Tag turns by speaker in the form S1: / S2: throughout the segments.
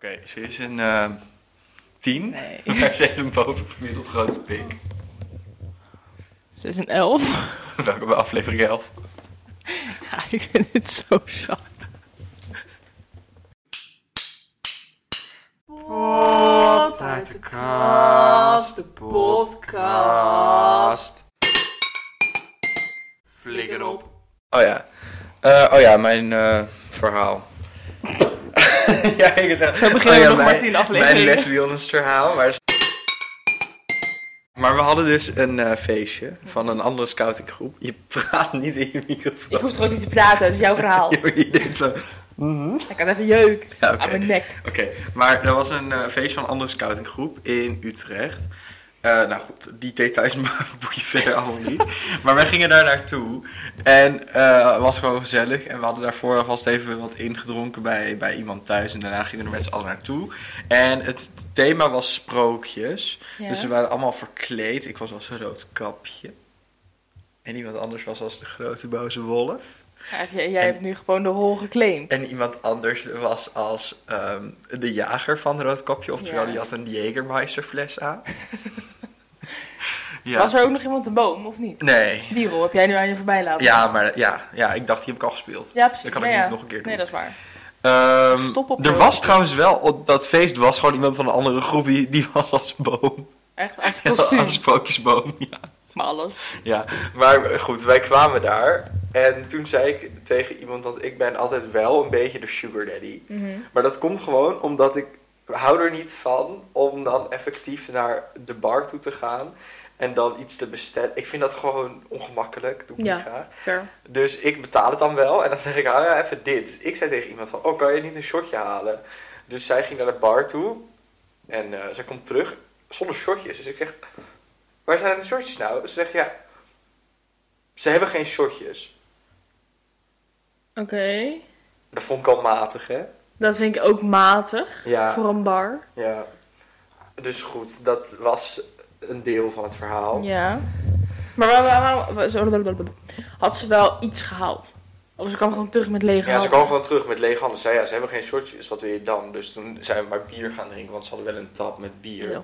S1: ze is een eh, tien. Maar ze heeft een bovengemiddeld grote pik.
S2: Ze is een elf.
S1: Welkom bij aflevering 11.
S2: Ja, ik vind dit zo zat.
S3: uit de kast, de podcast. Flikker op.
S1: Oh ja. Eh, oh ja, mijn eh, verhaal. Oh ja, ik zeg, Zo
S2: beginnen we nog maar tien afleveringen.
S1: Mijn lesbionisch verhaal. Maar... maar we hadden dus een eh, feestje van een andere scoutinggroep. Je praat niet in je microfoon.
S2: Ik hoef er ook niet te praten, dat is jouw verhaal.
S1: Je deed zo.
S2: Ik had even jeuk
S1: Ja, oké.
S2: aan mijn nek.
S1: Oké, maar er was een eh, feestje van een andere scoutinggroep in Utrecht. Eh, nou goed, die details ma- boeien verder allemaal niet. Maar wij gingen daar naartoe. En eh, het was gewoon gezellig. En we hadden daarvoor alvast even wat ingedronken bij, bij iemand thuis. En daarna gingen we er met z'n allen naartoe. En het thema was sprookjes.
S2: Ja.
S1: Dus we waren allemaal verkleed. Ik was als een rood kapje. En iemand anders was als de grote boze wolf.
S2: Ja, heb jij, jij hebt nu gewoon de hol geclaimd.
S1: En iemand anders was als ehm, de jager van Roodkopje. Oftewel,
S2: Ja.
S1: die had een Jägermeisterfles aan. ja.
S2: Was er ook nog iemand de boom, of niet?
S1: Nee.
S2: Die rol heb jij nu aan je voorbij laten.
S1: Ja, maar ja, ja, ik dacht, die heb ik al gespeeld.
S2: Ja, precies.
S1: Dat kan
S2: Nee,
S1: ik
S2: ja.
S1: niet nog een keer doen.
S2: Nee, dat is waar.
S1: Ehm,
S2: Stop op
S1: er
S2: de-
S1: was trouwens wel, op dat feest was gewoon iemand van een andere groep, die, die was als boom.
S2: Echt als
S1: Als
S2: kostuum.
S1: sprookjesboom, ja.
S2: Maar alles.
S1: Ja, maar eh, goed, wij kwamen daar. En toen zei ik tegen iemand dat ik ben altijd wel een beetje de sugar daddy. Maar dat komt gewoon omdat ik hou er niet van om dan effectief naar de bar toe te gaan. En dan iets te bestellen. Ik vind dat gewoon ongemakkelijk. Doe ik
S2: Ja.
S1: niet graag.
S2: Ver.
S1: Dus ik betaal het dan wel. En dan zeg ik, hou ja, even dit. Dus ik zei tegen iemand van, oh, kan je niet een shotje halen? Dus zij ging naar de bar toe. En eh, zij komt terug zonder shotjes. Dus ik zeg, waar zijn de shotjes nou? Ze zegt, ja, ze hebben geen shotjes.
S2: Oké.
S1: Dat vond ik al matig, hè?
S2: Dat vind ik ook matig.
S1: Ja.
S2: Voor een bar.
S1: Ja. Dus goed, dat was een deel van het verhaal.
S2: Ja. Maar waarom, waarom- waarom- zo- blablabla. had ze wel iets gehaald? Of ze kwam gewoon terug met lege
S1: Ja, ze
S2: handen?
S1: kwam gewoon terug met lege handen. Ze zei, ja, ze hebben geen shotjes, wat wil je dan? Dus toen zijn we maar bier gaan drinken, want ze hadden wel een tap met bier.
S2: Ja.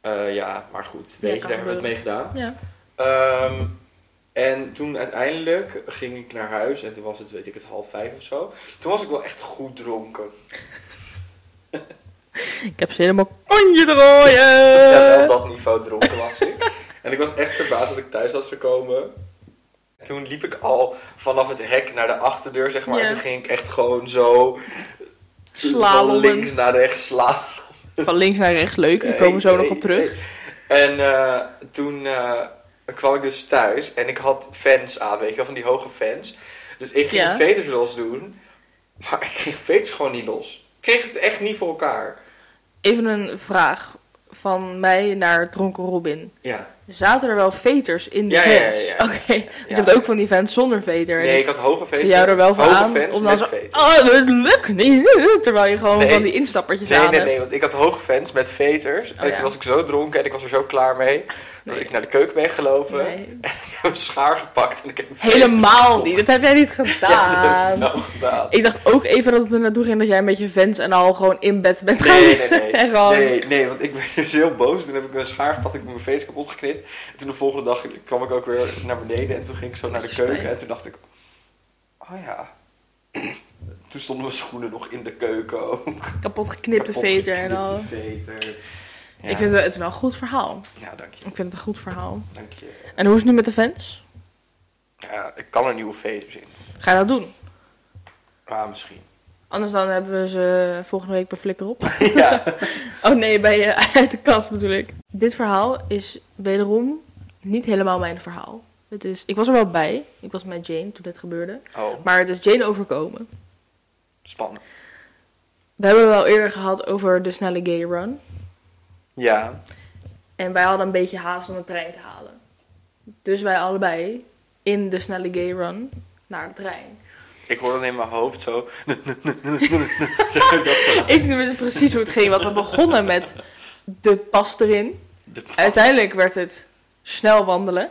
S1: Eh, ja, maar goed,
S2: Ja,
S1: weet je,
S2: kan
S1: daar hebben we het mee gedaan.
S2: Ja.
S1: Ehm, en toen uiteindelijk ging ik naar huis en toen was het, weet ik het, half vijf of zo. Toen was ik wel echt goed dronken.
S2: Ik heb ze helemaal konje te
S1: Ja, wel
S2: rooien.
S1: op dat niveau dronken was ik. en ik was echt verbaasd dat ik thuis was gekomen. Toen liep ik al vanaf het hek naar de achterdeur, zeg maar.
S2: Ja.
S1: En toen ging ik echt gewoon zo van
S2: Slalomend.
S1: links naar rechts slaan.
S2: Van links naar rechts, leuk. Daar komen we zo nog op terug.
S1: En eh, toen eh, kwam ik dus thuis en ik had fans aan, weet je wel, van die hoge fans. Dus ik ging
S2: Ja.
S1: de veters los doen, maar ik kreeg veters gewoon niet los. Ik kreeg het echt niet voor elkaar.
S2: Even een vraag van mij naar Dronken Robin.
S1: Ja.
S2: Zaten er wel veters in de
S1: Ja, ja, ja,
S2: vans?
S1: ja.
S2: Oké, want je hebt ook van die vans zonder veter.
S1: Nee, ik had hoge
S2: Zie
S1: veters.
S2: jou er wel van
S1: hoge
S2: aan?
S1: fans
S2: om dan
S1: met
S2: zo-
S1: veters.
S2: Oh, dat lukt niet. Terwijl je gewoon
S1: Nee.
S2: van die instappertjes
S1: Nee,
S2: aan
S1: nee,
S2: hebt.
S1: nee, want ik had hoge fans met veters. en
S2: ja.
S1: toen was ik zo dronken en ik was er zo klaar mee. Dat
S2: Nee.
S1: ik naar de keuken ben gelopen.
S2: Nee.
S1: En ik heb een schaar gepakt en ik heb een veter
S2: Helemaal
S1: kapot
S2: niet. Dat heb jij niet gedaan.
S1: Ja, dat heb ik wel gedaan.
S2: Ik dacht ook even dat het er naartoe ging dat jij een beetje vans en al gewoon in bed bent gaan.
S1: Nee, nee, nee.
S2: en gewoon,
S1: nee, nee, want ik ben dus heel boos. Toen heb ik een schaar gepakt, ik heb mijn face kapot geknit. En toen de volgende dag kwam ik ook weer naar beneden en toen ging ik zo naar de
S2: Dat is spijt.
S1: keuken. En toen dacht ik, oh ja. Toen stonden mijn schoenen nog in de keuken ook.
S2: kapot geknipte
S1: Kapot
S2: veter en
S1: geknipte
S2: al.
S1: veter. Ja.
S2: Ik vind wel, het is wel een goed verhaal.
S1: ja, dank je,
S2: Ik vind het een goed verhaal.
S1: dank je.
S2: En hoe is het nu met de fans?
S1: Ja, ik kan er nieuwe veters in.
S2: Ga je dat doen?
S1: Maar misschien.
S2: Anders dan hebben we ze volgende week bij Flikker op.
S1: ja.
S2: Oh nee, bij eh, uit de kast bedoel ik. Dit verhaal is wederom niet helemaal mijn verhaal. Het is, ik was er wel bij. Ik was met Jane toen dit gebeurde.
S1: Oh,
S2: Maar het is Jane overkomen.
S1: spannend.
S2: We hebben het wel eerder gehad over de snelle gay run.
S1: Ja.
S2: En wij hadden een beetje haast om de trein te halen. Dus wij allebei in de snelle gay run naar de trein.
S1: Ik hoor dan in mijn hoofd zo... Zeg maar dat zo.
S2: Ik wist precies hoe het ging, want we begonnen met de pas erin.
S1: De pas.
S2: Uiteindelijk werd het snel wandelen.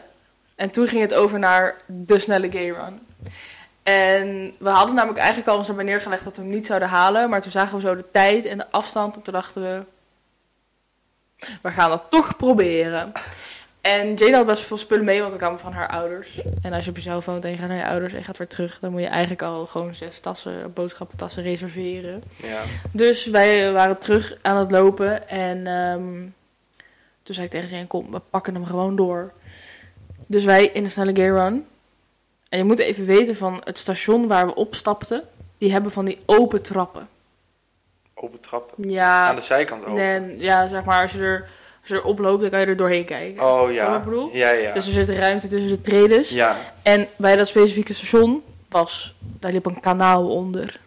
S2: En toen ging het over naar de snelle gay run. En we hadden namelijk eigenlijk al onze manier neergelegd dat we hem niet zouden halen. Maar toen zagen we zo de tijd en de afstand. En toen dachten we, we gaan dat toch proberen. En Jane had best veel spullen mee, want we kwamen van haar ouders. En als je op jezelf woont en je gaat naar je ouders en je gaat weer terug... dan moet je eigenlijk al gewoon zes tassen, boodschappentassen reserveren.
S1: Ja.
S2: Dus wij waren terug aan het lopen en ehm, toen zei ik tegen Jane, kom, we pakken hem gewoon door. Dus wij in de snelle gay run. En je moet even weten van het station waar we opstapten, die hebben van die open trappen.
S1: Open trappen. Aan
S2: Ja,
S1: de zijkant open.
S2: en, ja zeg maar, als je, er, als je erop loopt, dan kan je er doorheen kijken.
S1: Oh
S2: Snap je
S1: ja.
S2: wat ik bedoel?
S1: Ja, ja.
S2: Dus er zit ruimte tussen de tredes.
S1: ja.
S2: En bij dat specifieke station was, daar liep een kanaal onder.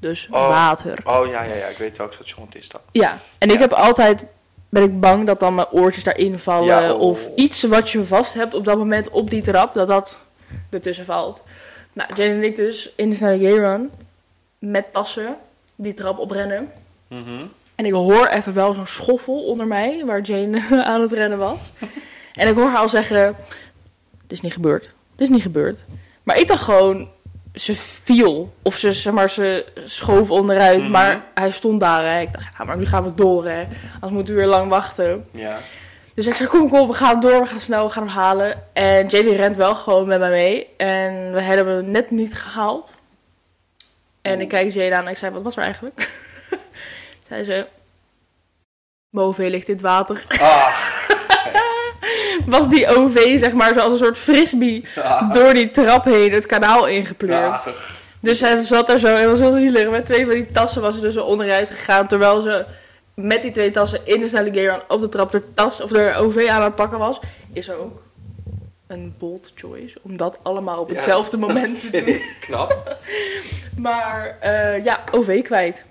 S2: Dus
S1: Oh.
S2: water.
S1: Oh ja, ja, ja. Ik weet welk station het is dan.
S2: Ja, en ik
S1: Ja.
S2: heb altijd ben ik bang dat dan mijn oortjes daarin vallen
S1: Ja, oh.
S2: of iets wat je vast hebt op dat moment op die trap dat dat ertussen valt. Nou, Jane en ik dus in de snelle gay run met passen die trap oprennen.
S1: Mhm.
S2: En ik hoor even wel zo'n schoffel onder mij waar Jane aan het rennen was. En ik hoor haar al zeggen: Dit is niet gebeurd. Dit is niet gebeurd. Maar ik dacht gewoon, ze viel. Of ze, zeg maar, ze schoof onderuit.
S1: Mhm.
S2: Maar hij stond daar. Hè. Ik dacht, ja, maar nu gaan we door. Hè. Anders moeten we weer lang wachten.
S1: Ja.
S2: Dus ik zei, kom, kom, we gaan door. We gaan snel, we gaan hem halen. En JD rent wel gewoon met mij mee. En we hebben hem net niet gehaald. En ik kijk Jade aan en ik zei, wat was er eigenlijk? zei ze, boven ligt in het water.
S1: Ah.
S2: Was die OV, zeg maar, zoals een soort frisbee...
S1: ah,
S2: door die trap heen het kanaal ingepleurd.
S1: ah.
S2: Dus zij zat daar zo en was heel zielig. Met twee van die tassen was ze dus al onderuit gegaan. Terwijl ze met die twee tassen in de snelle gear op de trap de tas of de OV aan het pakken was. Is ook een bold choice. Om dat allemaal op
S1: Ja,
S2: hetzelfde
S1: Dat
S2: moment te
S1: vind
S2: doen.
S1: ik knap.
S2: Maar eh, ja, OV kwijt.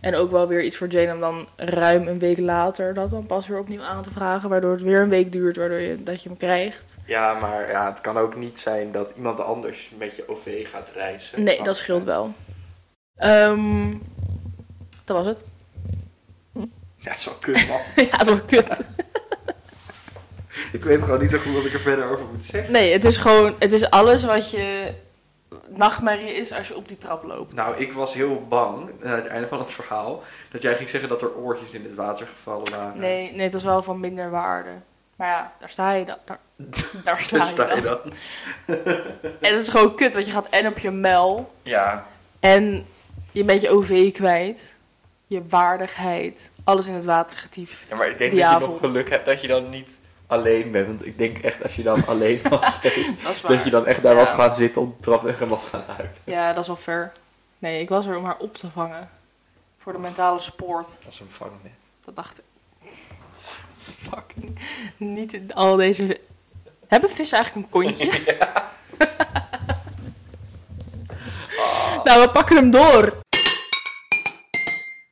S2: En ook wel weer iets voor Jane om dan ruim een week later dat dan pas weer opnieuw aan te vragen. Waardoor het weer een week duurt, waardoor je, dat je hem krijgt.
S1: Ja, maar ja, het kan ook niet zijn dat iemand anders met je OV gaat reizen.
S2: Nee, dat scheelt wel. Ehm, dat was het.
S1: Ja, dat is wel kut, man.
S2: ja, dat was kut.
S1: ik weet gewoon niet zo goed wat ik er verder over moet zeggen.
S2: Nee, het is gewoon, het is alles wat je nachtmerrie is als je op die trap loopt.
S1: Nou, ik was heel bang, eh, aan het einde van het verhaal, dat jij ging zeggen dat er oortjes in het water gevallen waren.
S2: Nee, nee, het is wel van minder waarde. Maar ja, daar sta je dan. Daar, daar sta,
S1: Daar
S2: je
S1: Dus sta je
S2: dan.
S1: dan.
S2: En het is gewoon kut, want je gaat en op je mel
S1: Ja,
S2: en je bent je OV kwijt, je waardigheid, alles in het water getiefd.
S1: Ja, maar ik denk
S2: Die
S1: dat je
S2: avond.
S1: nog geluk hebt dat je dan niet alleen bent. Want ik denk echt als je dan alleen was geweest,
S2: Dat is waar.
S1: dat je dan echt daar
S2: Ja.
S1: was gaan zitten op de trap en was gaan huilen.
S2: Ja, dat is wel fair. Nee, ik was er om haar op te vangen. Voor de mentale support.
S1: Dat is een vangnet.
S2: Dat dacht ik. Dat is Fucking niet in al deze. Hebben vissen eigenlijk een kontje? Nou, we pakken hem door.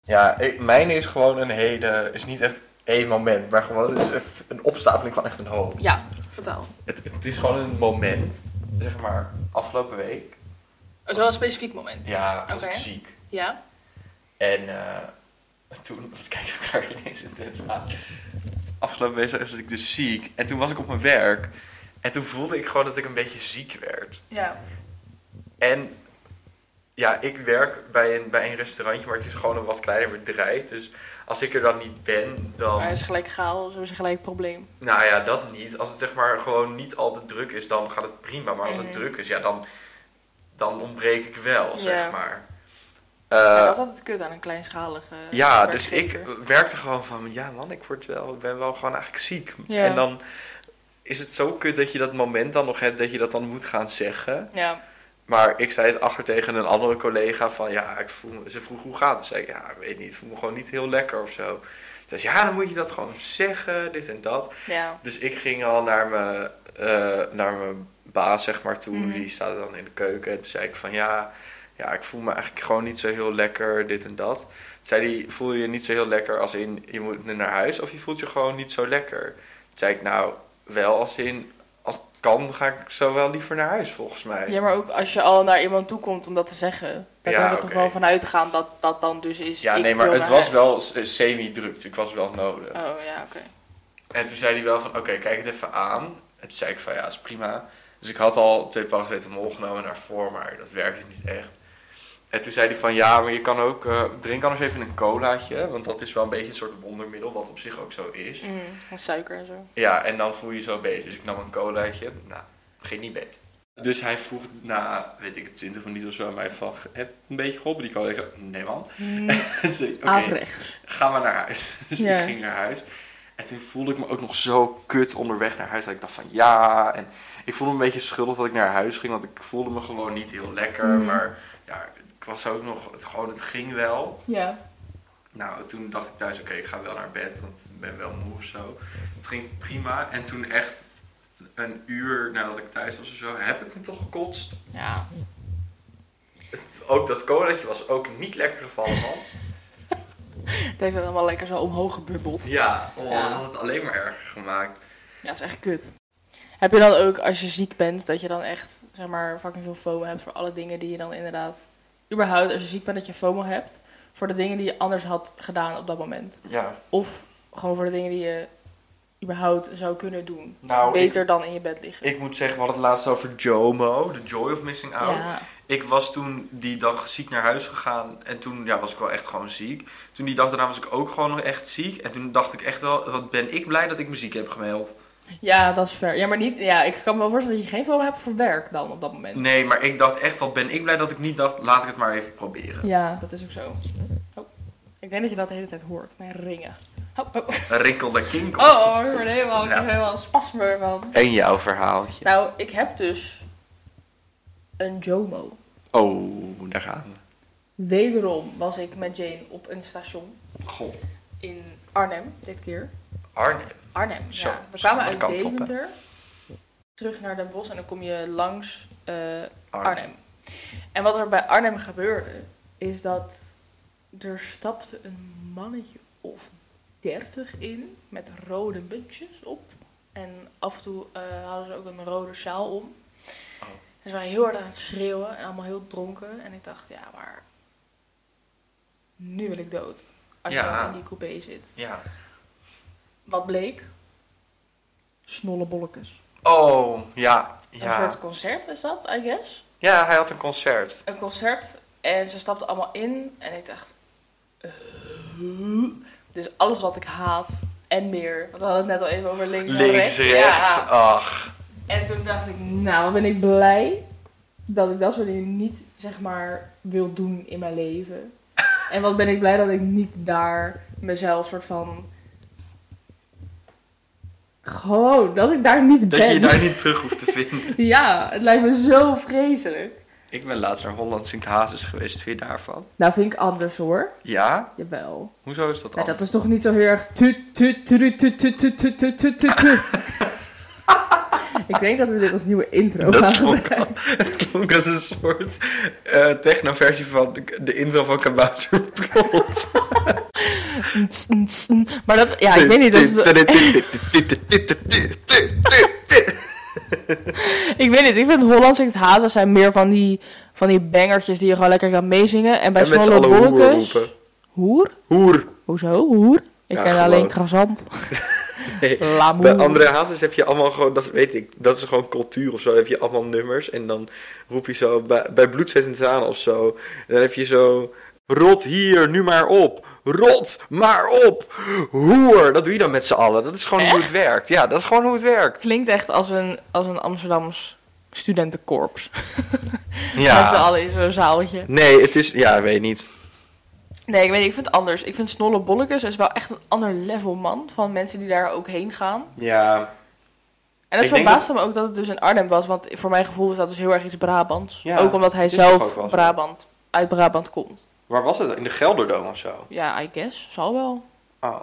S1: Ja, ik- mijn is gewoon een hele, is niet echt één moment, maar gewoon is eff- een opstapeling van echt een hoop.
S2: Ja, vertel.
S1: Het, het is gewoon een moment, zeg maar, afgelopen week.
S2: Er is wel een specifiek moment.
S1: Ja, was
S2: Oké.
S1: ik ziek.
S2: Ja?
S1: En eh, toen, wat kijk ik elkaar ineens intens aan. Afgelopen week was ik dus ziek. En toen was ik op mijn werk. En toen voelde ik gewoon dat ik een beetje ziek werd.
S2: Ja.
S1: En ja, ik werk bij een, bij een restaurantje, maar het is gewoon een wat kleiner bedrijf. Dus als ik er dan niet ben, dan...
S2: Maar hij is gelijk chaos, hebben ze gelijk een probleem.
S1: Nou ja, dat niet. Als het zeg maar gewoon niet al te druk is, dan gaat het prima. Maar als het
S2: Mhm.
S1: druk is, ja, dan, dan ontbreek ik wel, zeg
S2: Ja.
S1: maar.
S2: Ja,
S1: Eh,
S2: dat is altijd kut aan een kleinschalige.
S1: Ja, dus ik
S2: werkgever.
S1: werkte gewoon van, ja man, ik word wel, ik ben wel gewoon eigenlijk ziek.
S2: Ja.
S1: En dan is het zo kut dat je dat moment dan nog hebt, dat je dat dan moet gaan zeggen.
S2: Ja,
S1: Maar ik zei het achter tegen een andere collega van, ja, ik voel me, ze vroeg hoe gaat het? Zei ik, ja, ik weet niet, ik voel me gewoon niet heel lekker of zo. Ze zei, ja, dan moet je dat gewoon zeggen, dit en dat.
S2: ja.
S1: Dus ik ging al naar mijn, eh, naar mijn baas, zeg maar, toe.
S2: Mhm.
S1: Die staat dan in de keuken. En toen zei ik van, ja, ja, ik voel me eigenlijk gewoon niet zo heel lekker, dit en dat. Toen zei hij, voel je je niet zo heel lekker als in, je moet nu naar huis? Of je voelt je gewoon niet zo lekker? Toen zei ik, nou, wel als in, als het kan, ga ik zo wel liever naar huis, volgens mij.
S2: Ja, maar ook als je al naar iemand toe komt om dat te zeggen, dan
S1: Ja,
S2: kan je er
S1: oké.
S2: toch wel vanuit gaan dat dat dan dus is.
S1: Ja,
S2: ik
S1: nee, maar
S2: wil
S1: het
S2: naar
S1: was
S2: huis.
S1: wel s- eh, semi-druk. dus Ik was wel nodig.
S2: Oh ja, oké.
S1: En toen zei hij wel van, oké, kijk het even aan. En toen zei ik van, ja, is prima. Dus ik had al twee paracetamol genomen daarvoor, maar dat werkte niet echt. En toen zei hij van ja, maar je kan ook, eh, drink anders even een colaatje. Want dat is wel een beetje een soort wondermiddel, wat op zich ook zo is.
S2: Mm, en suiker en zo.
S1: Ja, en dan voel je je zo beter. Dus ik nam een colaatje. Nou, ging niet beter. Dus hij vroeg na, weet ik het, 20 minuten of zo aan mij van, heb je een beetje geholpen die cola? Ik zei, nee man. Toen zei ik, oké,
S2: Mm. Averechts.
S1: ga maar naar huis. Dus
S2: Ja.
S1: ik ging naar huis. En toen voelde ik me ook nog zo kut onderweg naar huis. Dat ik dacht van ja. En ik voelde me een beetje schuldig dat ik naar huis ging. Want ik voelde me gewoon niet heel lekker.
S2: Mhm.
S1: Maar ja, ik was ook nog. Het, gewoon, het ging wel.
S2: Ja.
S1: Nou, toen dacht ik thuis, oké, ik ga wel naar bed, want ik ben wel moe of zo. Het ging prima. En toen echt een uur nadat ik thuis was of zo, heb ik me toch gekotst.
S2: Ja.
S1: Het- ook dat colaatje was ook niet lekker gevallen, man.
S2: Het heeft dan wel lekker zo omhoog gebubbeld.
S1: Ja, oh,
S2: Ja.
S1: dat had het alleen maar erger gemaakt.
S2: Ja, dat is echt kut. Heb je dan ook, als je ziek bent, dat je dan echt, zeg maar, fucking veel FOMO hebt voor alle dingen die je dan inderdaad... Überhaupt, als je ziek bent, dat je FOMO hebt voor de dingen die je anders had gedaan op dat moment.
S1: Ja,
S2: Of gewoon voor de dingen die je überhaupt zou kunnen doen.
S1: nou, ik,
S2: Beter dan in je bed liggen.
S1: ik moet zeggen, we hadden het laatst over JOMO, de Joy of Missing Out.
S2: ja.
S1: Ik was toen die dag ziek naar huis gegaan en toen ja, was ik wel echt gewoon ziek. Toen die dag daarna was ik ook gewoon nog echt ziek. En toen dacht ik echt wel, wat ben ik blij dat ik me ziek heb gemeld.
S2: ja, dat is ver. Ja, maar niet, ja, ik kan me wel voorstellen dat je geen FOMO hebt voor werk dan op dat moment.
S1: Nee, maar ik dacht echt wel, ben ik blij dat ik niet dacht, laat ik het maar even proberen.
S2: Ja, dat is ook zo. Oh, ik denk dat je dat de hele tijd hoort. Mijn ringen. Oh, oh.
S1: Een Rinkel de kinkel.
S2: Oh, ik word helemaal, ik heb
S1: Nou.
S2: helemaal een spasme van.
S1: En jouw verhaaltje.
S2: Nou, ik heb dus een Jomo.
S1: Oh, daar gaan
S2: Wederom was ik met Jane op een station
S1: we. Goh,
S2: in Arnhem, dit keer.
S1: Arnhem.
S2: Arnhem,
S1: Zo,
S2: ja. We
S1: zo
S2: kwamen
S1: de
S2: uit
S1: kant op, hè.
S2: Deventer, terug naar Den Bosch en dan kom je langs eh, Arnhem. En wat er bij Arnhem gebeurde, is dat er stapte een mannetje of dertig in met rode muntjes op. En af en toe eh, hadden ze ook een rode sjaal om.
S1: Oh.
S2: En ze waren heel hard aan het schreeuwen en allemaal heel dronken. En ik dacht, ja, maar nu wil ik dood. Als je
S1: Ja.
S2: dan in die coupé zit.
S1: Ja.
S2: Wat bleek? Snolle bolletjes.
S1: Oh, ja.
S2: Een
S1: Ja.
S2: soort concert is dat, I guess.
S1: ja, hij had een concert.
S2: Een concert. En ze stapten allemaal in. En ik dacht... eh, Dus alles wat ik haat. En meer. Want we hadden het net al even over links, en
S1: Links, rechts,
S2: Ja.
S1: ach.
S2: En toen dacht ik, nou wat ben ik blij. Dat ik dat soort dingen niet, zeg maar, wil doen in mijn leven. En wat ben ik blij dat ik niet daar mezelf soort van... Gewoon, dat ik daar niet ben.
S1: Dat je je daar niet terug hoeft te vinden.
S2: Ja, het lijkt me zo vreselijk.
S1: ik ben laatst naar Holland Sint-Hazes geweest, vind je daarvan?
S2: Nou, vind ik anders hoor.
S1: Ja?
S2: Jawel.
S1: Hoezo is dat
S2: Nou,
S1: anders?
S2: dat is toch niet zo heel erg. tu- tu- tu- tu- tu- tu- tu- tu- tu- tu- tu- tu. Ik denk dat we dit als nieuwe intro
S1: Dat
S2: gaan
S1: klonk
S2: gebruiken.
S1: Het klonk als een soort eh techno-versie van de, de intro van Kabouter Pro.
S2: Maar dat, ja, ik weet niet. Dat is, ik weet niet. Ik vind Hollands in het Hazen zijn meer van die, van die bangertjes die je gewoon lekker kan meezingen. En bij
S1: En met z'n
S2: Snolle
S1: allen hoer
S2: Bolletjes.
S1: roepen.
S2: Hoer?
S1: Hoer.
S2: Hoezo? Hoer? Ik
S1: Ja,
S2: ken
S1: gewoon.
S2: alleen krasant.
S1: Nee,
S2: Lamoe.
S1: Bij andere hazes heb je allemaal gewoon, dat is- weet ik, dat is gewoon cultuur of zo. Dan heb je allemaal nummers en dan roep je zo bij, bij bloedzettend aan of zo. En dan heb je zo, rot hier, nu maar op. Rot, maar op. Hoer. Dat doe je dan met z'n allen. Dat is gewoon hoe het werkt. Ja, dat is gewoon hoe het werkt.
S2: Klinkt echt als een, als een Amsterdams studentenkorps. Met z'n
S1: Ja.
S2: allen in zo'n zaaltje.
S1: Nee, het is, ja, weet niet.
S2: Nee, ik weet niet, ik vind het anders. Ik vind Snolle Bollekes is wel echt een ander level man van mensen die daar ook heen gaan.
S1: Ja.
S2: En het
S1: Ik denk
S2: verbaasde me ook dat het dus in Arnhem was, want voor mijn gevoel is dat dus heel erg iets Brabants.
S1: Ja,
S2: ook omdat hij
S1: is toch
S2: zelf
S1: ook wel zo.
S2: Brabant, uit Brabant komt.
S1: Waar was het? In de Gelderdoom of zo?
S2: Ja, I guess, zal wel.
S1: Oh.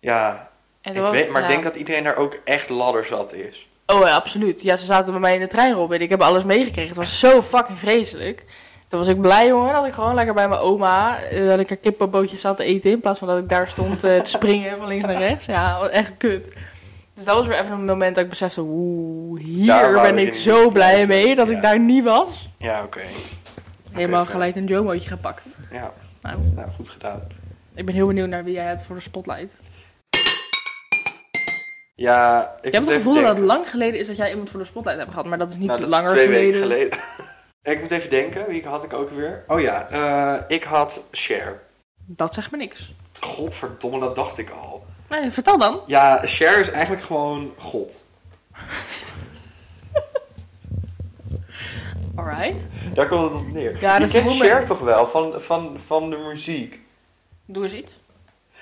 S1: Ja.
S2: En
S1: Ik
S2: dat-
S1: weet, maar ik
S2: ja.
S1: denk dat iedereen daar ook echt ladderzat is.
S2: Oh ja, absoluut. Ja, ze zaten bij mij in de trein, Robin. Ik heb alles meegekregen. Het was zo fucking vreselijk. Toen was ik blij, jongen, dat ik gewoon lekker bij mijn oma... eh, dat ik er kippenbootjes zat te eten... in plaats van dat ik daar stond eh, te springen van links naar rechts. Ja, wat echt kut. Dus dat was weer even een moment dat ik besefte... oeh,
S1: Daar
S2: hier
S1: wou
S2: ben
S1: ik
S2: ik
S1: niet
S2: zo
S1: bij
S2: blij
S1: zijn,
S2: mee dat
S1: ja.
S2: ik daar niet was.
S1: Ja, oké.
S2: Helemaal
S1: fair.
S2: gelijk een jomootje gepakt.
S1: Ja,
S2: Nou,
S1: nou goed gedaan.
S2: ik ben heel benieuwd naar wie jij hebt voor de spotlight.
S1: Ja, ik
S2: Ik heb
S1: moet
S2: het
S1: even
S2: gevoel dat het
S1: denken.
S2: lang geleden is dat jij iemand voor de spotlight hebt gehad, maar dat is niet
S1: Nou, dat
S2: langer
S1: is twee
S2: geleden.
S1: weken geleden. ik moet even denken, wie had ik ook weer? Oh ja, eh, ik had Cher.
S2: Dat zegt me niks.
S1: Godverdomme, dat dacht ik al.
S2: Nee, vertel dan.
S1: Ja, Cher is eigenlijk gewoon God.
S2: Alright.
S1: Daar komt het op neer.
S2: Ja,
S1: je
S2: dat is
S1: kent
S2: een woman.
S1: Cher toch wel van, van, van de muziek?
S2: Doe eens iets.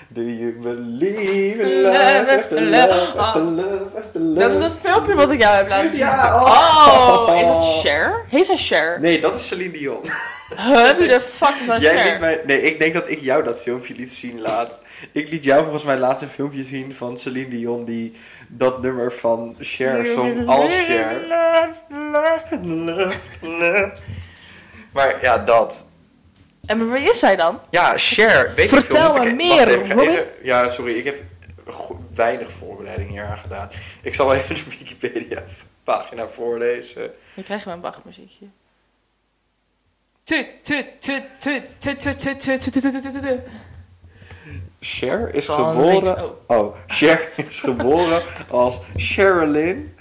S1: Do you believe in love after love after love after love?
S2: Dat is het filmpje wat ik jou heb laten zien.
S1: Ja,
S2: oh. is dat Cher? Heet zij Cher?
S1: Nee, dat is Celine Dion.
S2: Huh, wie de fuck is dat
S1: Jij liet
S2: Cher?
S1: mij... Nee, ik denk dat ik jou dat filmpje liet zien laatst. Ik liet jou volgens mij laatst een filmpje zien van Celine Dion die dat nummer van Cher zong als Cher. Maar ja, dat.
S2: En wie is zij dan?
S1: Ja, Cher. Weet ik
S2: Vertel
S1: veel, want
S2: me
S1: ik-
S2: meer,
S1: wacht even,
S2: Robin.
S1: eh, Ja, sorry, ik heb go- weinig voorbereiding hier aan gedaan. Ik zal wel even de Wikipedia-pagina voorlezen.
S2: Dan krijgen we een wachtmuziekje. Tu, tu, tu, tu, tu, tu, tu, tu, tu, tu, tu, tu, tu, tu.
S1: Cher is
S2: Van
S1: geboren.
S2: links,
S1: Oh. Cher is geboren als Sherilyn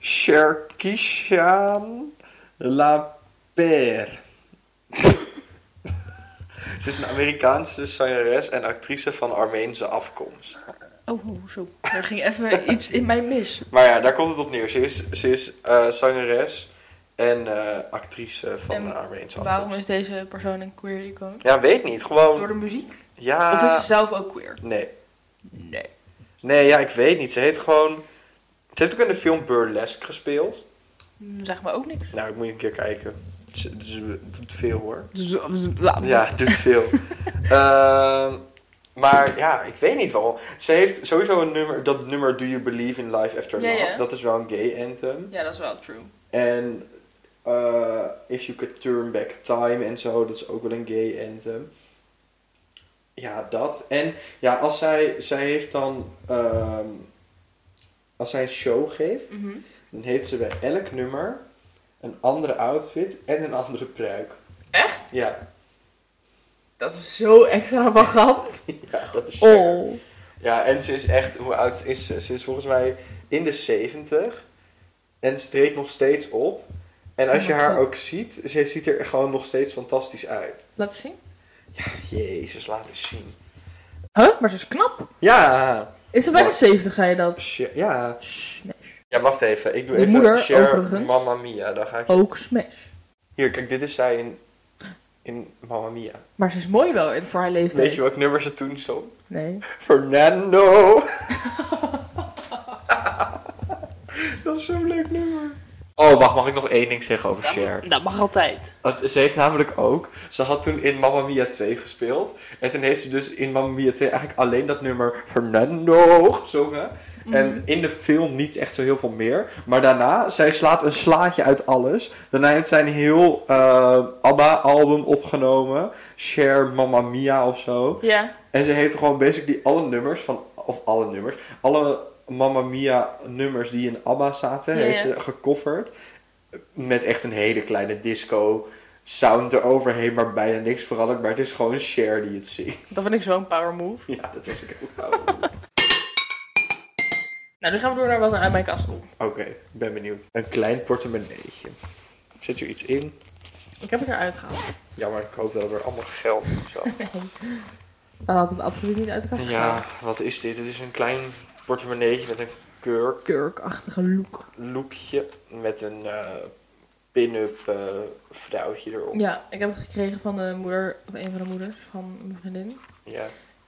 S1: Sherkishan Laper. Ze is een Amerikaanse zangeres en actrice van Armeense afkomst.
S2: Oh, zo. Er ging even iets in mij mis.
S1: Maar ja, daar komt het op neer. Ze is, ze is eh, zangeres en eh, actrice van
S2: En
S1: een Armeense afkomst.
S2: Waarom is deze persoon een queer icoon?
S1: Ja, weet niet.
S2: Door
S1: Gewoon.
S2: de muziek?
S1: Ja.
S2: Of is ze zelf ook queer?
S1: Nee.
S2: Nee.
S1: Nee, ja, ik weet niet. Ze heet gewoon. Ze heeft ook in de film Burlesque gespeeld.
S2: Zeg maar ook niks.
S1: Nou, ik moet een keer kijken. Het is- het is- het doet veel hoor.
S2: Ah.
S1: Ja, het doet veel. Ehm, maar ja, ik weet niet wel. Ze heeft sowieso een nummer, dat nummer Do You Believe in Life After
S2: Ja,
S1: Love.
S2: ja.
S1: Dat is wel een gay anthem.
S2: Ja, dat is wel true.
S1: En eh, If You Could Turn Back Time en zo, dat is ook wel een gay anthem. Ja, dat. En ja, als zij, zij heeft dan, ehm, als zij een show geeft, dan heeft ze bij elk nummer een andere outfit en een andere pruik.
S2: Echt?
S1: Ja,
S2: Dat is zo extravagant.
S1: ja dat is Cher.
S2: Oh.
S1: Ja, en ze is echt, hoe oud is ze? Ze is volgens mij in de 70 en streedt nog steeds op. En als
S2: Oh
S1: je
S2: mijn
S1: haar
S2: God.
S1: ook ziet, ze ziet er gewoon nog steeds fantastisch uit.
S2: Laat zien.
S1: Jezus, laat eens zien.
S2: Huh? Maar ze is knap.
S1: Ja,
S2: Is ze bijna
S1: Maar-
S2: 70, zei je dat?
S1: Cher- ja.
S2: Smash.
S1: Ja, wacht even. Ik doe
S2: De
S1: even
S2: moeder,
S1: Cher,
S2: overigens.
S1: Mamma Mia. Dan ga ik...
S2: Ook smash.
S1: Hier, kijk, dit is zij in, in Mamma Mia.
S2: Maar ze is mooi wel in- voor haar leeftijd.
S1: Weet je welk nummer ze toen zong?
S2: Nee.
S1: Fernando. dat is zo'n leuk nummer. Oh, wacht, mag ik nog één ding zeggen over Cher?
S2: Dat mag altijd.
S1: Want Ze heeft namelijk ook, ze had toen in Mamma Mia 2 gespeeld. En toen heeft ze dus in Mamma Mia 2 eigenlijk alleen dat nummer Fernando gezongen. En in de film niet echt zo heel veel meer. Maar daarna, zij slaat een slaatje uit alles. Daarna heeft zij een heel eh, ABBA-album opgenomen. Cher Mamma Mia of zo.
S2: Ja.
S1: En ze heeft gewoon basically alle nummers van, of alle nummers, alle Mamma Mia nummers die in ABBA zaten,
S2: Ja,
S1: heeft
S2: ja.
S1: ze gecoverd. Met echt een hele kleine disco sound eroverheen, maar bijna niks veranderd. Maar het is gewoon Cher die het zingt.
S2: Dat vind ik zo'n power move.
S1: Ja, dat heb ik ook. wel. Oké,
S2: Nou, nu gaan we door naar wat er uit mijn kast komt.
S1: ik ben benieuwd. Een klein portemonneetje. Zit er iets in?
S2: Ik heb het eruit gehaald.
S1: Ja, maar ik hoop dat het er allemaal geld in zat.
S2: Dan had het absoluut niet uit de kast
S1: Ja, wat is dit? Het is een klein portemonneetje met een kurk.
S2: Kurkachtige look.
S1: lookje met een eh, pin-up eh, vrouwtje erop. Ja.
S2: Ja, ik heb het gekregen van de moeder, of een van de moeders van mijn vriendin.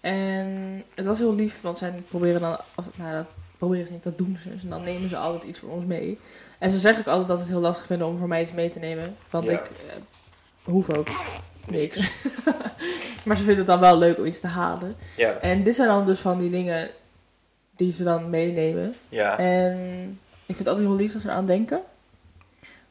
S2: En het was heel lief, want zij proberen dan, of, nou dat proberen ze niet, dat doen ze. Dus dan nemen ze altijd iets voor ons mee. En ze zeggen ook altijd dat ze het heel lastig vinden om voor mij iets mee te nemen. Want
S1: Ja.
S2: ik eh, hoef ook niks. maar ze vinden het dan wel leuk om iets te halen.
S1: Ja,
S2: En dit zijn dan dus van die dingen die ze dan meenemen.
S1: ja.
S2: En ik vind het altijd heel lief als ze aan denken.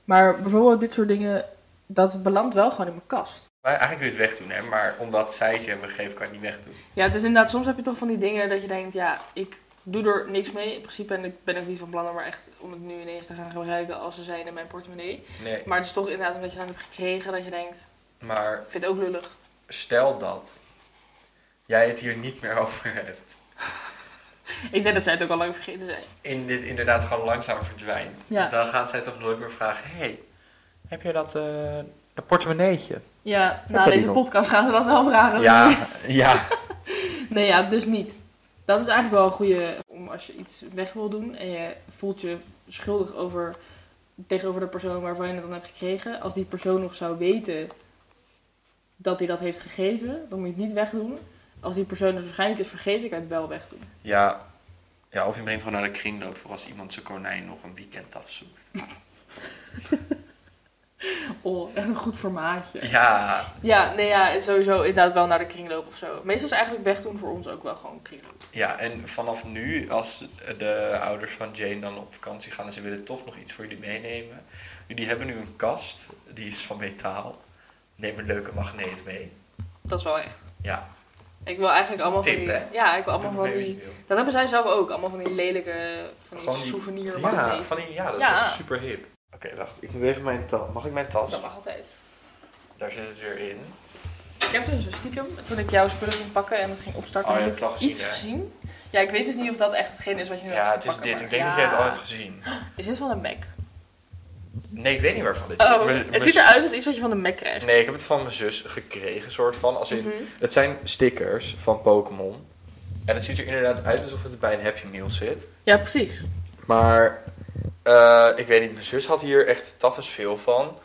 S2: Maar bijvoorbeeld dit soort dingen, dat belandt wel gewoon in mijn kast.
S1: Maar eigenlijk kun je het wegdoen, hè? Maar omdat zij ze hebben gegeven, kan je het niet wegdoen.
S2: Ja, het is inderdaad, soms heb je toch van die dingen dat je denkt, ja, ik doe er niks mee. In principe en ik ben ook niet van plan om er echt om het nu ineens te gaan gebruiken als ze zijn in mijn portemonnee.
S1: Nee,
S2: Maar het is toch inderdaad omdat je dan hebt gekregen dat je denkt,
S1: maar
S2: ik vind het ook lullig.
S1: stel dat jij het hier niet meer over hebt.
S2: Ik denk dat zij het ook al lang vergeten zijn.
S1: in dit inderdaad gewoon langzaam verdwijnt.
S2: Ja.
S1: Dan gaan zij toch nooit meer vragen: hey, heb je dat, eh dat portemonneetje?
S2: Ja, na
S1: dat
S2: deze
S1: nog?
S2: podcast gaan ze dat wel vragen.
S1: Ja, ja.
S2: Nee, ja, dus niet. Dat is eigenlijk wel een goede om als je iets weg wil doen en je voelt je schuldig over, tegenover de persoon waarvan je het dan hebt gekregen. Als die persoon nog zou weten dat hij dat heeft gegeven, dan moet je het niet wegdoen. Als die persoon het waarschijnlijk is vergeten, kan je het wel wegdoen.
S1: ja. Ja, of je brengt gewoon naar de kringloop voor als iemand zijn konijn nog een weekendtas zoekt.
S2: Oh, echt een goed formaatje.
S1: Ja,
S2: Ja, nee, ja, sowieso inderdaad wel naar de kringloop of zo. Meestal is eigenlijk wegdoen voor ons ook wel gewoon kringloop.
S1: ja, en vanaf nu, als de ouders van Jane dan op vakantie gaan en ze willen toch nog iets voor jullie meenemen. Jullie hebben nu een kast, die is van metaal. Neem een leuke magneet mee.
S2: Dat is wel echt.
S1: Ja,
S2: Ik wil eigenlijk
S1: Dat is een
S2: allemaal
S1: tip,
S2: van die...
S1: hè?
S2: Ja, ik wil allemaal
S1: doe
S2: van
S1: mee wat
S2: die...
S1: je wil.
S2: Dat hebben zij zelf ook. Allemaal van die lelijke van die
S1: Gewoon die-
S2: souvenir.
S1: Ja,
S2: magneten.
S1: van die, ja, dat
S2: Ja.
S1: is toch super hip. Oké, wacht. Ik moet even mijn tas. Mag ik mijn tas?
S2: Dat mag altijd.
S1: Daar zit het weer in.
S2: Ik heb dus een stiekem, toen ik jouw spullen ging pakken en het ging opstarten,
S1: Oh, je
S2: heb
S1: hebt het
S2: ik
S1: al
S2: iets
S1: gezien, hè?
S2: gezien. Ja, ik weet dus niet of dat echt hetgeen is wat je nu
S1: Ja,
S2: gaat
S1: het is
S2: pakken,
S1: dit.
S2: maar-
S1: Ik denk dat
S2: Ja.
S1: jij het al hebt gezien.
S2: Is dit van de Mac?
S1: Nee, ik weet niet waarvan dit
S2: Oh,
S1: Mijn-
S2: het
S1: mijn
S2: ziet
S1: zus-
S2: eruit als iets wat je van de Mac krijgt.
S1: Nee, ik heb het van mijn zus gekregen, soort van. Als in,
S2: Mhm.
S1: Het zijn stickers van Pokémon. En het ziet er inderdaad uit alsof het bij een Happy Meal zit.
S2: Ja, precies.
S1: Maar eh, ik weet niet, mijn zus had hier echt tafels veel van.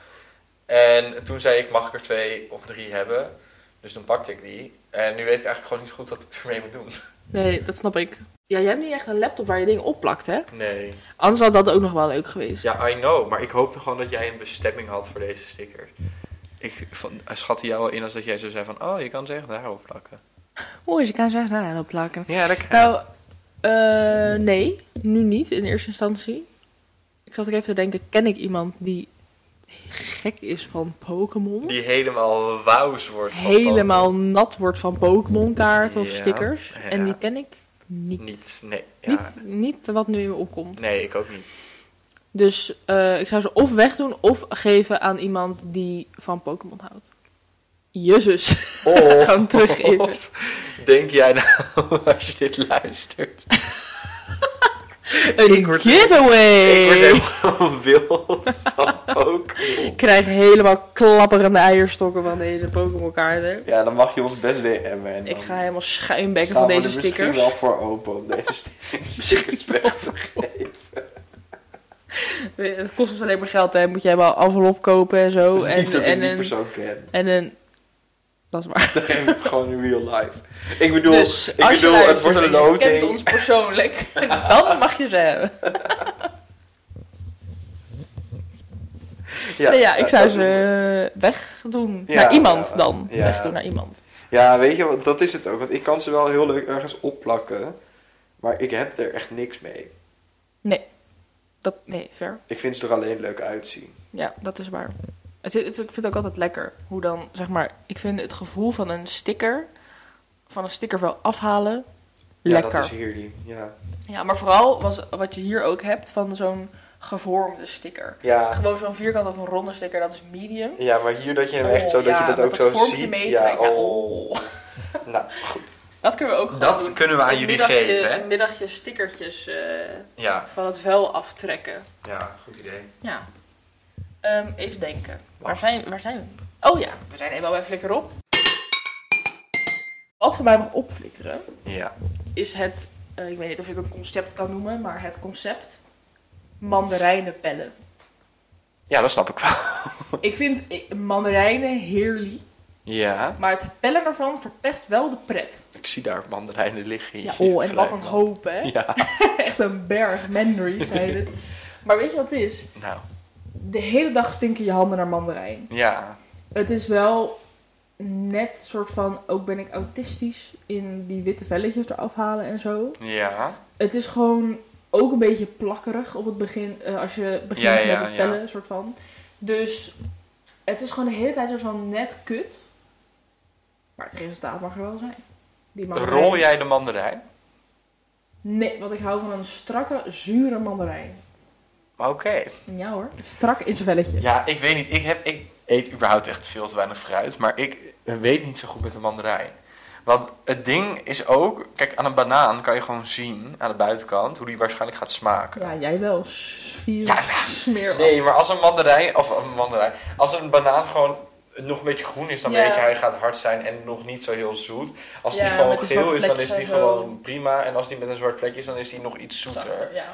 S1: En toen zei ik, mag ik er twee of drie hebben? Dus dan pakte ik die. En nu weet ik eigenlijk gewoon niet zo goed wat ik ermee moet doen.
S2: Nee, dat snap ik. Ja, jij hebt niet echt een laptop waar je dingen opplakt, hè?
S1: Nee.
S2: Anders had dat ook nog wel leuk geweest.
S1: Ja, I know. Maar ik hoopte gewoon dat jij een bestemming had voor deze stickers. Ik van, eh, schatte jou al in als dat jij zo zei van... Oh, je kan ze echt daarop plakken.
S2: Oeh, je kan zeggen, nou, dat plakken.
S1: Ja, dat kan.
S2: Nou, eh, nee, nu niet in eerste instantie. Ik zat ook even te denken, ken ik iemand die gek is van Pokémon?
S1: Die helemaal wauws wordt van
S2: Helemaal nat wordt van Pokémon kaarten of
S1: Ja,
S2: stickers.
S1: ja.
S2: En die ken ik niet.
S1: Pokémon. Niet, nee. Ja.
S2: Niet, niet wat nu in me opkomt.
S1: Nee, ik ook niet.
S2: Dus eh, ik zou ze of wegdoen of geven aan iemand die van Pokémon houdt. Jezus.
S1: Oh,
S2: Gewoon teruggeven.
S1: Denk jij nou, als je dit luistert?
S2: Een
S1: word-
S2: giveaway.
S1: Ik word helemaal wild van Pokémon.
S2: Ik krijg helemaal klapperende eierstokken van deze Pokémon kaarten.
S1: Ja, dan mag je ons best DM'en. en
S2: Ik
S1: dan
S2: ga helemaal schuimbekken
S1: staan
S2: van
S1: we
S2: deze
S1: er misschien
S2: stickers.
S1: wel voor open om deze st- stickers weg te geven.
S2: Het kost ons alleen maar geld, hè. Moet je helemaal envelop kopen en zo. En,
S1: Niet dat ik
S2: en,
S1: die
S2: een,
S1: persoon ken.
S2: en een... Dat is waar.
S1: Dan geef ik het gewoon in real life. Ik bedoel,
S2: dus
S1: ik
S2: als je
S1: bedoel het
S2: luistert
S1: wordt een
S2: en je kent
S1: loting.
S2: ons persoonlijk, dan mag je ze hebben.
S1: Ja,
S2: nee, ja, ik
S1: dat-
S2: zou
S1: dat
S2: ze
S1: doen we.
S2: eh, wegdoen.
S1: Ja,
S2: naar iemand
S1: ja,
S2: dan.
S1: ja.
S2: Wegdoen naar iemand.
S1: Ja, weet je, want dat is het ook. Want ik kan ze wel heel leuk ergens opplakken. Maar ik heb er echt niks mee.
S2: Nee. Dat, nee, ver.
S1: Ik vind ze er alleen leuk uitzien.
S2: Ja, dat is waar. Het, is- het, ik vind het ook altijd lekker hoe dan, zeg maar... Ik vind het gevoel van een sticker... Van een sticker wel afhalen... lekker.
S1: Ja, dat is hier die. Ja.
S2: Ja, maar vooral was wat je hier ook hebt van zo'n gevormde sticker.
S1: Ja.
S2: Gewoon zo'n vierkant of een ronde sticker, dat is medium.
S1: ja, maar hier dat je hem
S2: Oh,
S1: echt zo, dat
S2: ja,
S1: je dat
S2: met
S1: ook zo
S2: vormpje
S1: ziet.
S2: meetrekt,
S1: ja,
S2: ja,
S1: oh. Nou, goed.
S2: Dat kunnen we ook gewoon
S1: Dat
S2: doen.
S1: kunnen we aan
S2: Een
S1: jullie
S2: middagje-
S1: geven, hè?
S2: Een middagje stickertjes eh,
S1: Ja,
S2: van het vuil aftrekken.
S1: ja, goed idee.
S2: Ja. Ehm, even denken. Waar
S1: Wacht.
S2: zijn, waar zijn we? Oh ja, we zijn eenmaal bij Flikker op. Wat voor mij mag opflikkeren
S1: Ja.
S2: is het, eh, ik weet niet of je het een concept kan noemen, maar het concept mandarijnenpellen.
S1: Ja, dat snap ik wel.
S2: Ik vind eh, mandarijnen heerlijk.
S1: Ja.
S2: Maar het pellen ervan verpest wel de pret.
S1: Ik zie daar mandarijnen liggen.
S2: Ja,
S1: hier
S2: oh,
S1: in
S2: en wat een
S1: Vrijland.
S2: hoop, hè?
S1: Ja.
S2: Echt een berg mandarins, heet het. Maar weet je wat het is?
S1: Nou,
S2: De hele dag stinken je handen naar mandarijn.
S1: ja.
S2: Het is wel net soort van, ook ben ik autistisch, in die witte velletjes eraf halen en zo.
S1: Ja.
S2: Het is gewoon ook een beetje plakkerig op het begin, eh, als je begint
S1: Ja, ja,
S2: met
S1: ja.
S2: het pellen, soort van. Dus het is gewoon de hele tijd soort van net kut. Maar het resultaat mag er wel zijn. Die mandarijn-
S1: Rol jij de mandarijn?
S2: Nee, want ik hou van een strakke, zure mandarijn.
S1: Oké.
S2: Ja hoor. Strak in zijn velletje.
S1: Ja, ik weet niet. Ik, heb, ik eet überhaupt echt veel te weinig fruit. Maar ik weet niet zo goed met de mandarijn. Want het ding is ook, kijk, aan een banaan kan je gewoon zien aan de buitenkant hoe die waarschijnlijk gaat smaken.
S2: Ja, jij wel. S- Vier
S1: Ja,
S2: smeer.
S1: Nee, maar als een mandarijn, of een mandarijn, als een banaan gewoon nog een beetje groen is, dan
S2: Ja.
S1: weet je hij gaat hard zijn en nog niet zo heel zoet. Als die
S2: Ja,
S1: gewoon
S2: met die
S1: geel
S2: zwarte
S1: is, dan is
S2: vlekjes
S1: die
S2: en zo.
S1: gewoon prima. En als die met een zwart vlekje is, dan is die nog iets zoeter.
S2: Zachter, ja.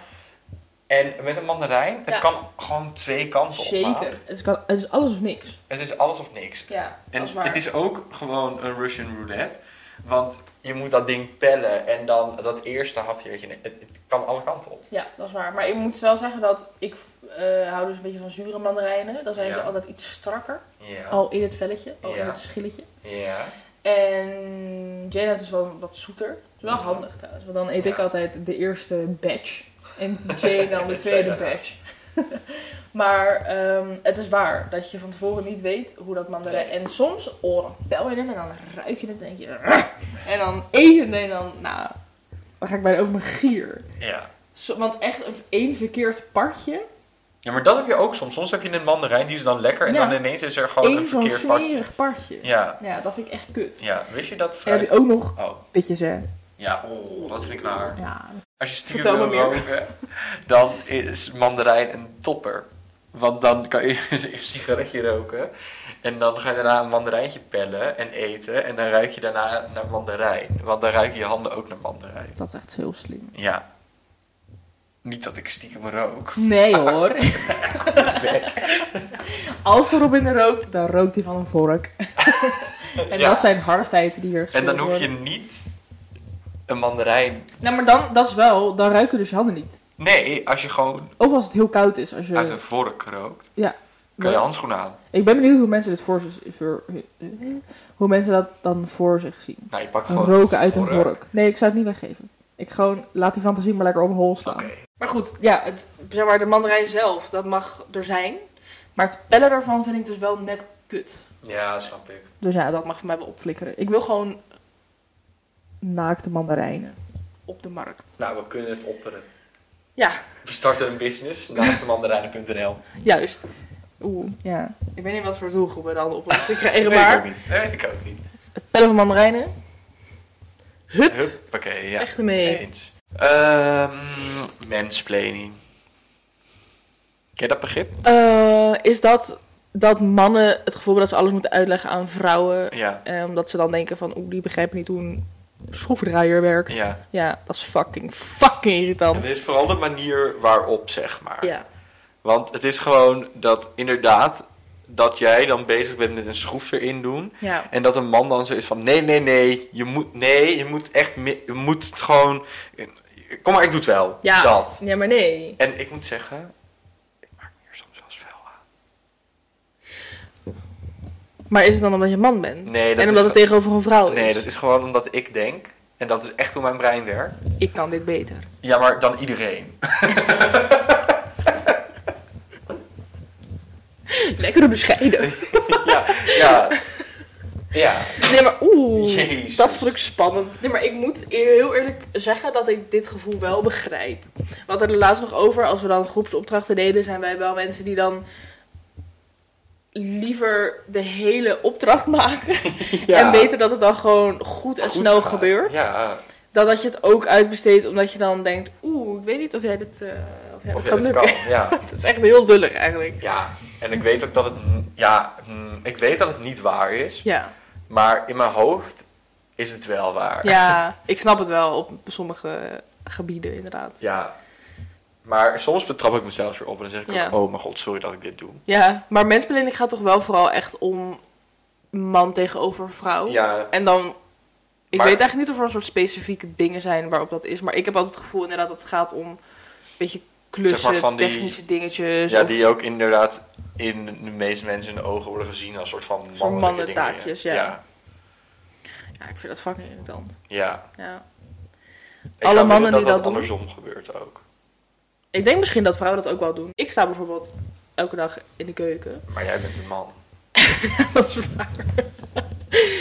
S1: En met een mandarijn, het
S2: Ja.
S1: kan gewoon twee kanten op. maat.
S2: Zeker. Het, kan, het is alles of niks.
S1: Het is alles of niks.
S2: Ja,
S1: En
S2: dat is waar.
S1: het is ook gewoon een Russian roulette. Want je moet dat ding pellen en dan dat eerste hapje, weet je, het, het kan alle kanten op.
S2: Ja, dat is waar. Maar ik moet wel zeggen dat ik eh, hou dus een beetje van zure mandarijnen. Dan zijn ze
S1: Ja.
S2: altijd iets strakker.
S1: Ja.
S2: Al in het velletje, al in
S1: Ja.
S2: het schilletje.
S1: Ja.
S2: En Jane is wel wat zoeter. Het is wel handig trouwens, want dan eet ik
S1: Ja.
S2: altijd de eerste batch. En Jane dan de
S1: Dat
S2: tweede
S1: zei je nou.
S2: batch. maar ehm, het is waar dat je van tevoren niet weet hoe dat mandarijn... En soms, oh, dan pel je hem en dan ruik je het en denk je... "Rrr." En dan eet je het en dan... Nou, dan ga ik bijna over mijn gier.
S1: ja.
S2: Zo- want echt één verkeerd partje,
S1: Ja, maar dat heb je ook soms. Soms heb je een mandarijn, die is dan lekker en
S2: Ja.
S1: dan ineens is er gewoon
S2: één
S1: Oh, een
S2: zo'n
S1: verkeerd partje.
S2: smerig partje. Ja.
S1: Ja.
S2: dat vind ik echt kut.
S1: ja, wist je dat?
S2: En dan heb
S1: Fruit...
S2: je ook nog
S1: Oh,
S2: pitjes, hè.
S1: ja, oh, dat vind ik naar.
S2: Ja,
S1: Als je stiekem
S2: Vertel
S1: wil
S2: me meer.
S1: roken, dan is mandarijn een topper. Want dan kan je eerst een sigaretje roken. En dan ga je daarna een mandarijntje pellen en eten. En dan ruik je daarna naar mandarijn. Want dan ruiken je handen ook naar mandarijn.
S2: dat is echt heel slim.
S1: Ja. Niet dat ik stiekem rook.
S2: Nee hoor. Als Robin rookt, dan rookt hij van een vork. en
S1: Ja.
S2: dat zijn harde feiten die hier
S1: En dan
S2: geschreven
S1: hoef je
S2: worden.
S1: niet een mandarijn.
S2: Nou, maar dan, dat is wel, dan ruiken dus je handen niet.
S1: Nee, als je gewoon
S2: Of als het heel koud is. Als
S1: uit
S2: je...
S1: een vork rookt,
S2: Ja.
S1: kan je handschoenen aan.
S2: Ik ben benieuwd hoe mensen dit voor zich... voor- hoe mensen dat dan voor zich zien.
S1: Nou, je pakt
S2: Een
S1: gewoon
S2: roken uit een vork. Nee, ik zou het niet weggeven. Ik gewoon, laat die fantasie maar lekker op een hol slaan.
S1: Oké.
S2: Maar goed, ja, het, zeg maar, de mandarijn zelf, dat mag er zijn. Maar het pellen daarvan vind ik dus wel net kut.
S1: Ja, snap ik.
S2: Dus ja, dat mag voor mij wel opflikkeren. Ik wil gewoon naakte mandarijnen op de markt.
S1: Nou, we kunnen het opperen.
S2: Ja,
S1: We starten een business, naaktemandarijnen.nl.
S2: juist. Oeh, ja. Ik weet niet wat voor doelgroep we dan op ons
S1: Nee,
S2: krijgen,
S1: ik ook
S2: maar
S1: niet. Nee, ik ook niet.
S2: het pellen van mandarijnen, Hup.
S1: Huppakee, ja.
S2: echt ermee.
S1: Eens. Ehm mansplaining. Ken je dat begrip?
S2: Eh, is dat dat mannen het gevoel hebben dat ze alles moeten uitleggen aan vrouwen?
S1: Ja.
S2: eh, omdat ze dan denken van, oeh, die begrijpen niet hoe een schroefdraaier werkt.
S1: Ja.
S2: Ja, dat is fucking, fucking
S1: En
S2: irritant.
S1: het is vooral de manier waarop, zeg maar.
S2: Ja,
S1: Want het is gewoon dat inderdaad dat jij dan bezig bent met een schroef erin doen.
S2: ja.
S1: En dat een man dan zo is van nee, nee, nee. Je moet, nee, je moet echt, mi- je moet het gewoon... Kom maar, ik doe het wel.
S2: Ja,
S1: Dat.
S2: ja maar nee.
S1: En ik moet zeggen, ik maak me hier soms wel eens fel aan.
S2: Maar is het dan omdat je man bent?
S1: Nee, dat
S2: en
S1: is
S2: omdat het
S1: wel-
S2: tegenover een vrouw is?
S1: Nee, dat is gewoon omdat ik denk, en dat is echt hoe mijn brein werkt.
S2: Ik kan dit beter.
S1: Ja, maar dan iedereen.
S2: Lekker bescheiden.
S1: ja, ja. Ja.
S2: Nee, maar oeh.
S1: Jezus.
S2: Dat vond ik spannend. Nee, maar ik moet heel eerlijk zeggen dat ik dit gevoel wel begrijp. We hadden er laatst nog over, als we dan groepsopdrachten deden, zijn wij wel mensen die dan liever de hele opdracht maken. En weten dat het dan gewoon goed en
S1: Goed
S2: snel
S1: gaat.
S2: gebeurt.
S1: Ja,
S2: Dan dat je het ook uitbesteedt omdat je dan denkt, oeh, ik weet niet of jij dit, eh, of jij
S1: of
S2: dit
S1: je
S2: gaat
S1: dat
S2: lukken.
S1: kan. Ja.
S2: Het is echt heel lullig eigenlijk.
S1: ja, en ik weet ook dat het... Ja, mm, ik weet dat het niet waar is.
S2: Ja,
S1: Maar in mijn hoofd is het wel waar.
S2: ja ik snap het wel op sommige gebieden inderdaad.
S1: Ja. Maar soms betrap ik mezelf weer op en dan zeg ik
S2: Ja.
S1: ook... Oh mijn god, sorry dat ik dit doe.
S2: Ja, maar mensbelending gaat toch wel vooral echt om man tegenover vrouw.
S1: Ja,
S2: En dan, ik
S1: Maar-
S2: weet eigenlijk niet of er een soort specifieke dingen zijn waarop dat is. Maar ik heb altijd het gevoel inderdaad dat het gaat om een beetje klussen,
S1: Zeg maar van die-
S2: technische dingetjes.
S1: ja
S2: Dus of
S1: die ook inderdaad in de meeste mensen hun ogen worden gezien als soort van mannelijke
S2: Zo'n mannentaakjes,
S1: dingen.
S2: ja.
S1: ja.
S2: ja, ik vind dat fucking irritant.
S1: ja.
S2: Ja.
S1: Ik zou
S2: Alle mannen
S1: willen dat
S2: die
S1: dat
S2: dat doen?
S1: andersom gebeurt ook.
S2: Ik denk misschien dat vrouwen dat ook wel doen. Ik sta bijvoorbeeld elke dag in de keuken.
S1: Maar jij bent een man.
S2: Dat is waar.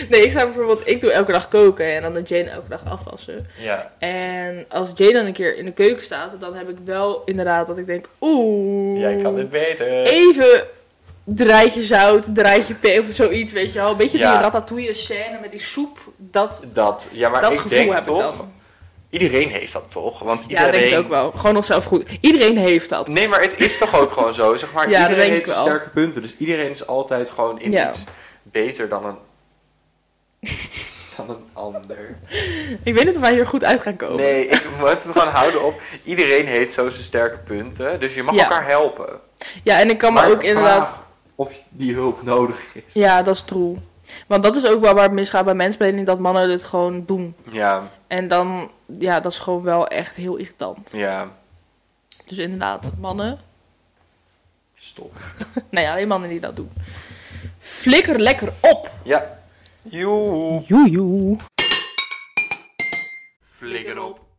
S2: Nee, ik sta bijvoorbeeld, ik doe elke dag koken en dan doet Jane elke dag afwassen.
S1: Ja.
S2: En als Jane dan een keer in de keuken staat, dan heb ik wel inderdaad dat ik denk, oeh.
S1: Jij kan dit beter.
S2: Even draadje zout, draadje pee of zoiets, weet je wel. Een beetje
S1: Ja.
S2: die ratatouille-scène met die soep. Dat,
S1: Dat, ja, maar
S2: dat
S1: ik
S2: gevoel
S1: denk
S2: heb
S1: toch...
S2: ik dan.
S1: Iedereen heeft dat toch? Want
S2: Ja,
S1: iedereen...
S2: dat denk ik ook wel. Gewoon onszelf goed. Iedereen heeft dat.
S1: Nee, maar het is toch ook gewoon zo? Zeg maar,
S2: Ja, dat
S1: iedereen
S2: denk
S1: heeft
S2: ik
S1: zijn
S2: wel.
S1: sterke punten. Dus iedereen is altijd gewoon in
S2: Ja.
S1: iets beter dan een... dan een ander.
S2: Ik weet niet of wij hier goed uit gaan komen.
S1: Oh, Nee, ik moet het gewoon houden op. Iedereen heeft zo zijn sterke punten. Dus je mag
S2: Ja.
S1: elkaar helpen.
S2: Ja, en ik kan me
S1: Maar
S2: ook
S1: vraag
S2: inderdaad...
S1: Of die hulp nodig is.
S2: Ja, dat is troel. Want dat is ook wel waar het misgaat bij mensplanning, dat mannen het gewoon doen.
S1: Ja,
S2: En dan, ja, dat is gewoon wel echt heel irritant.
S1: ja.
S2: Dus inderdaad, mannen.
S1: Stop.
S2: Nou ja, alleen mannen die dat doen. Flikker lekker op!
S1: Ja. Joe.
S2: Joejoe.
S3: Flikker op.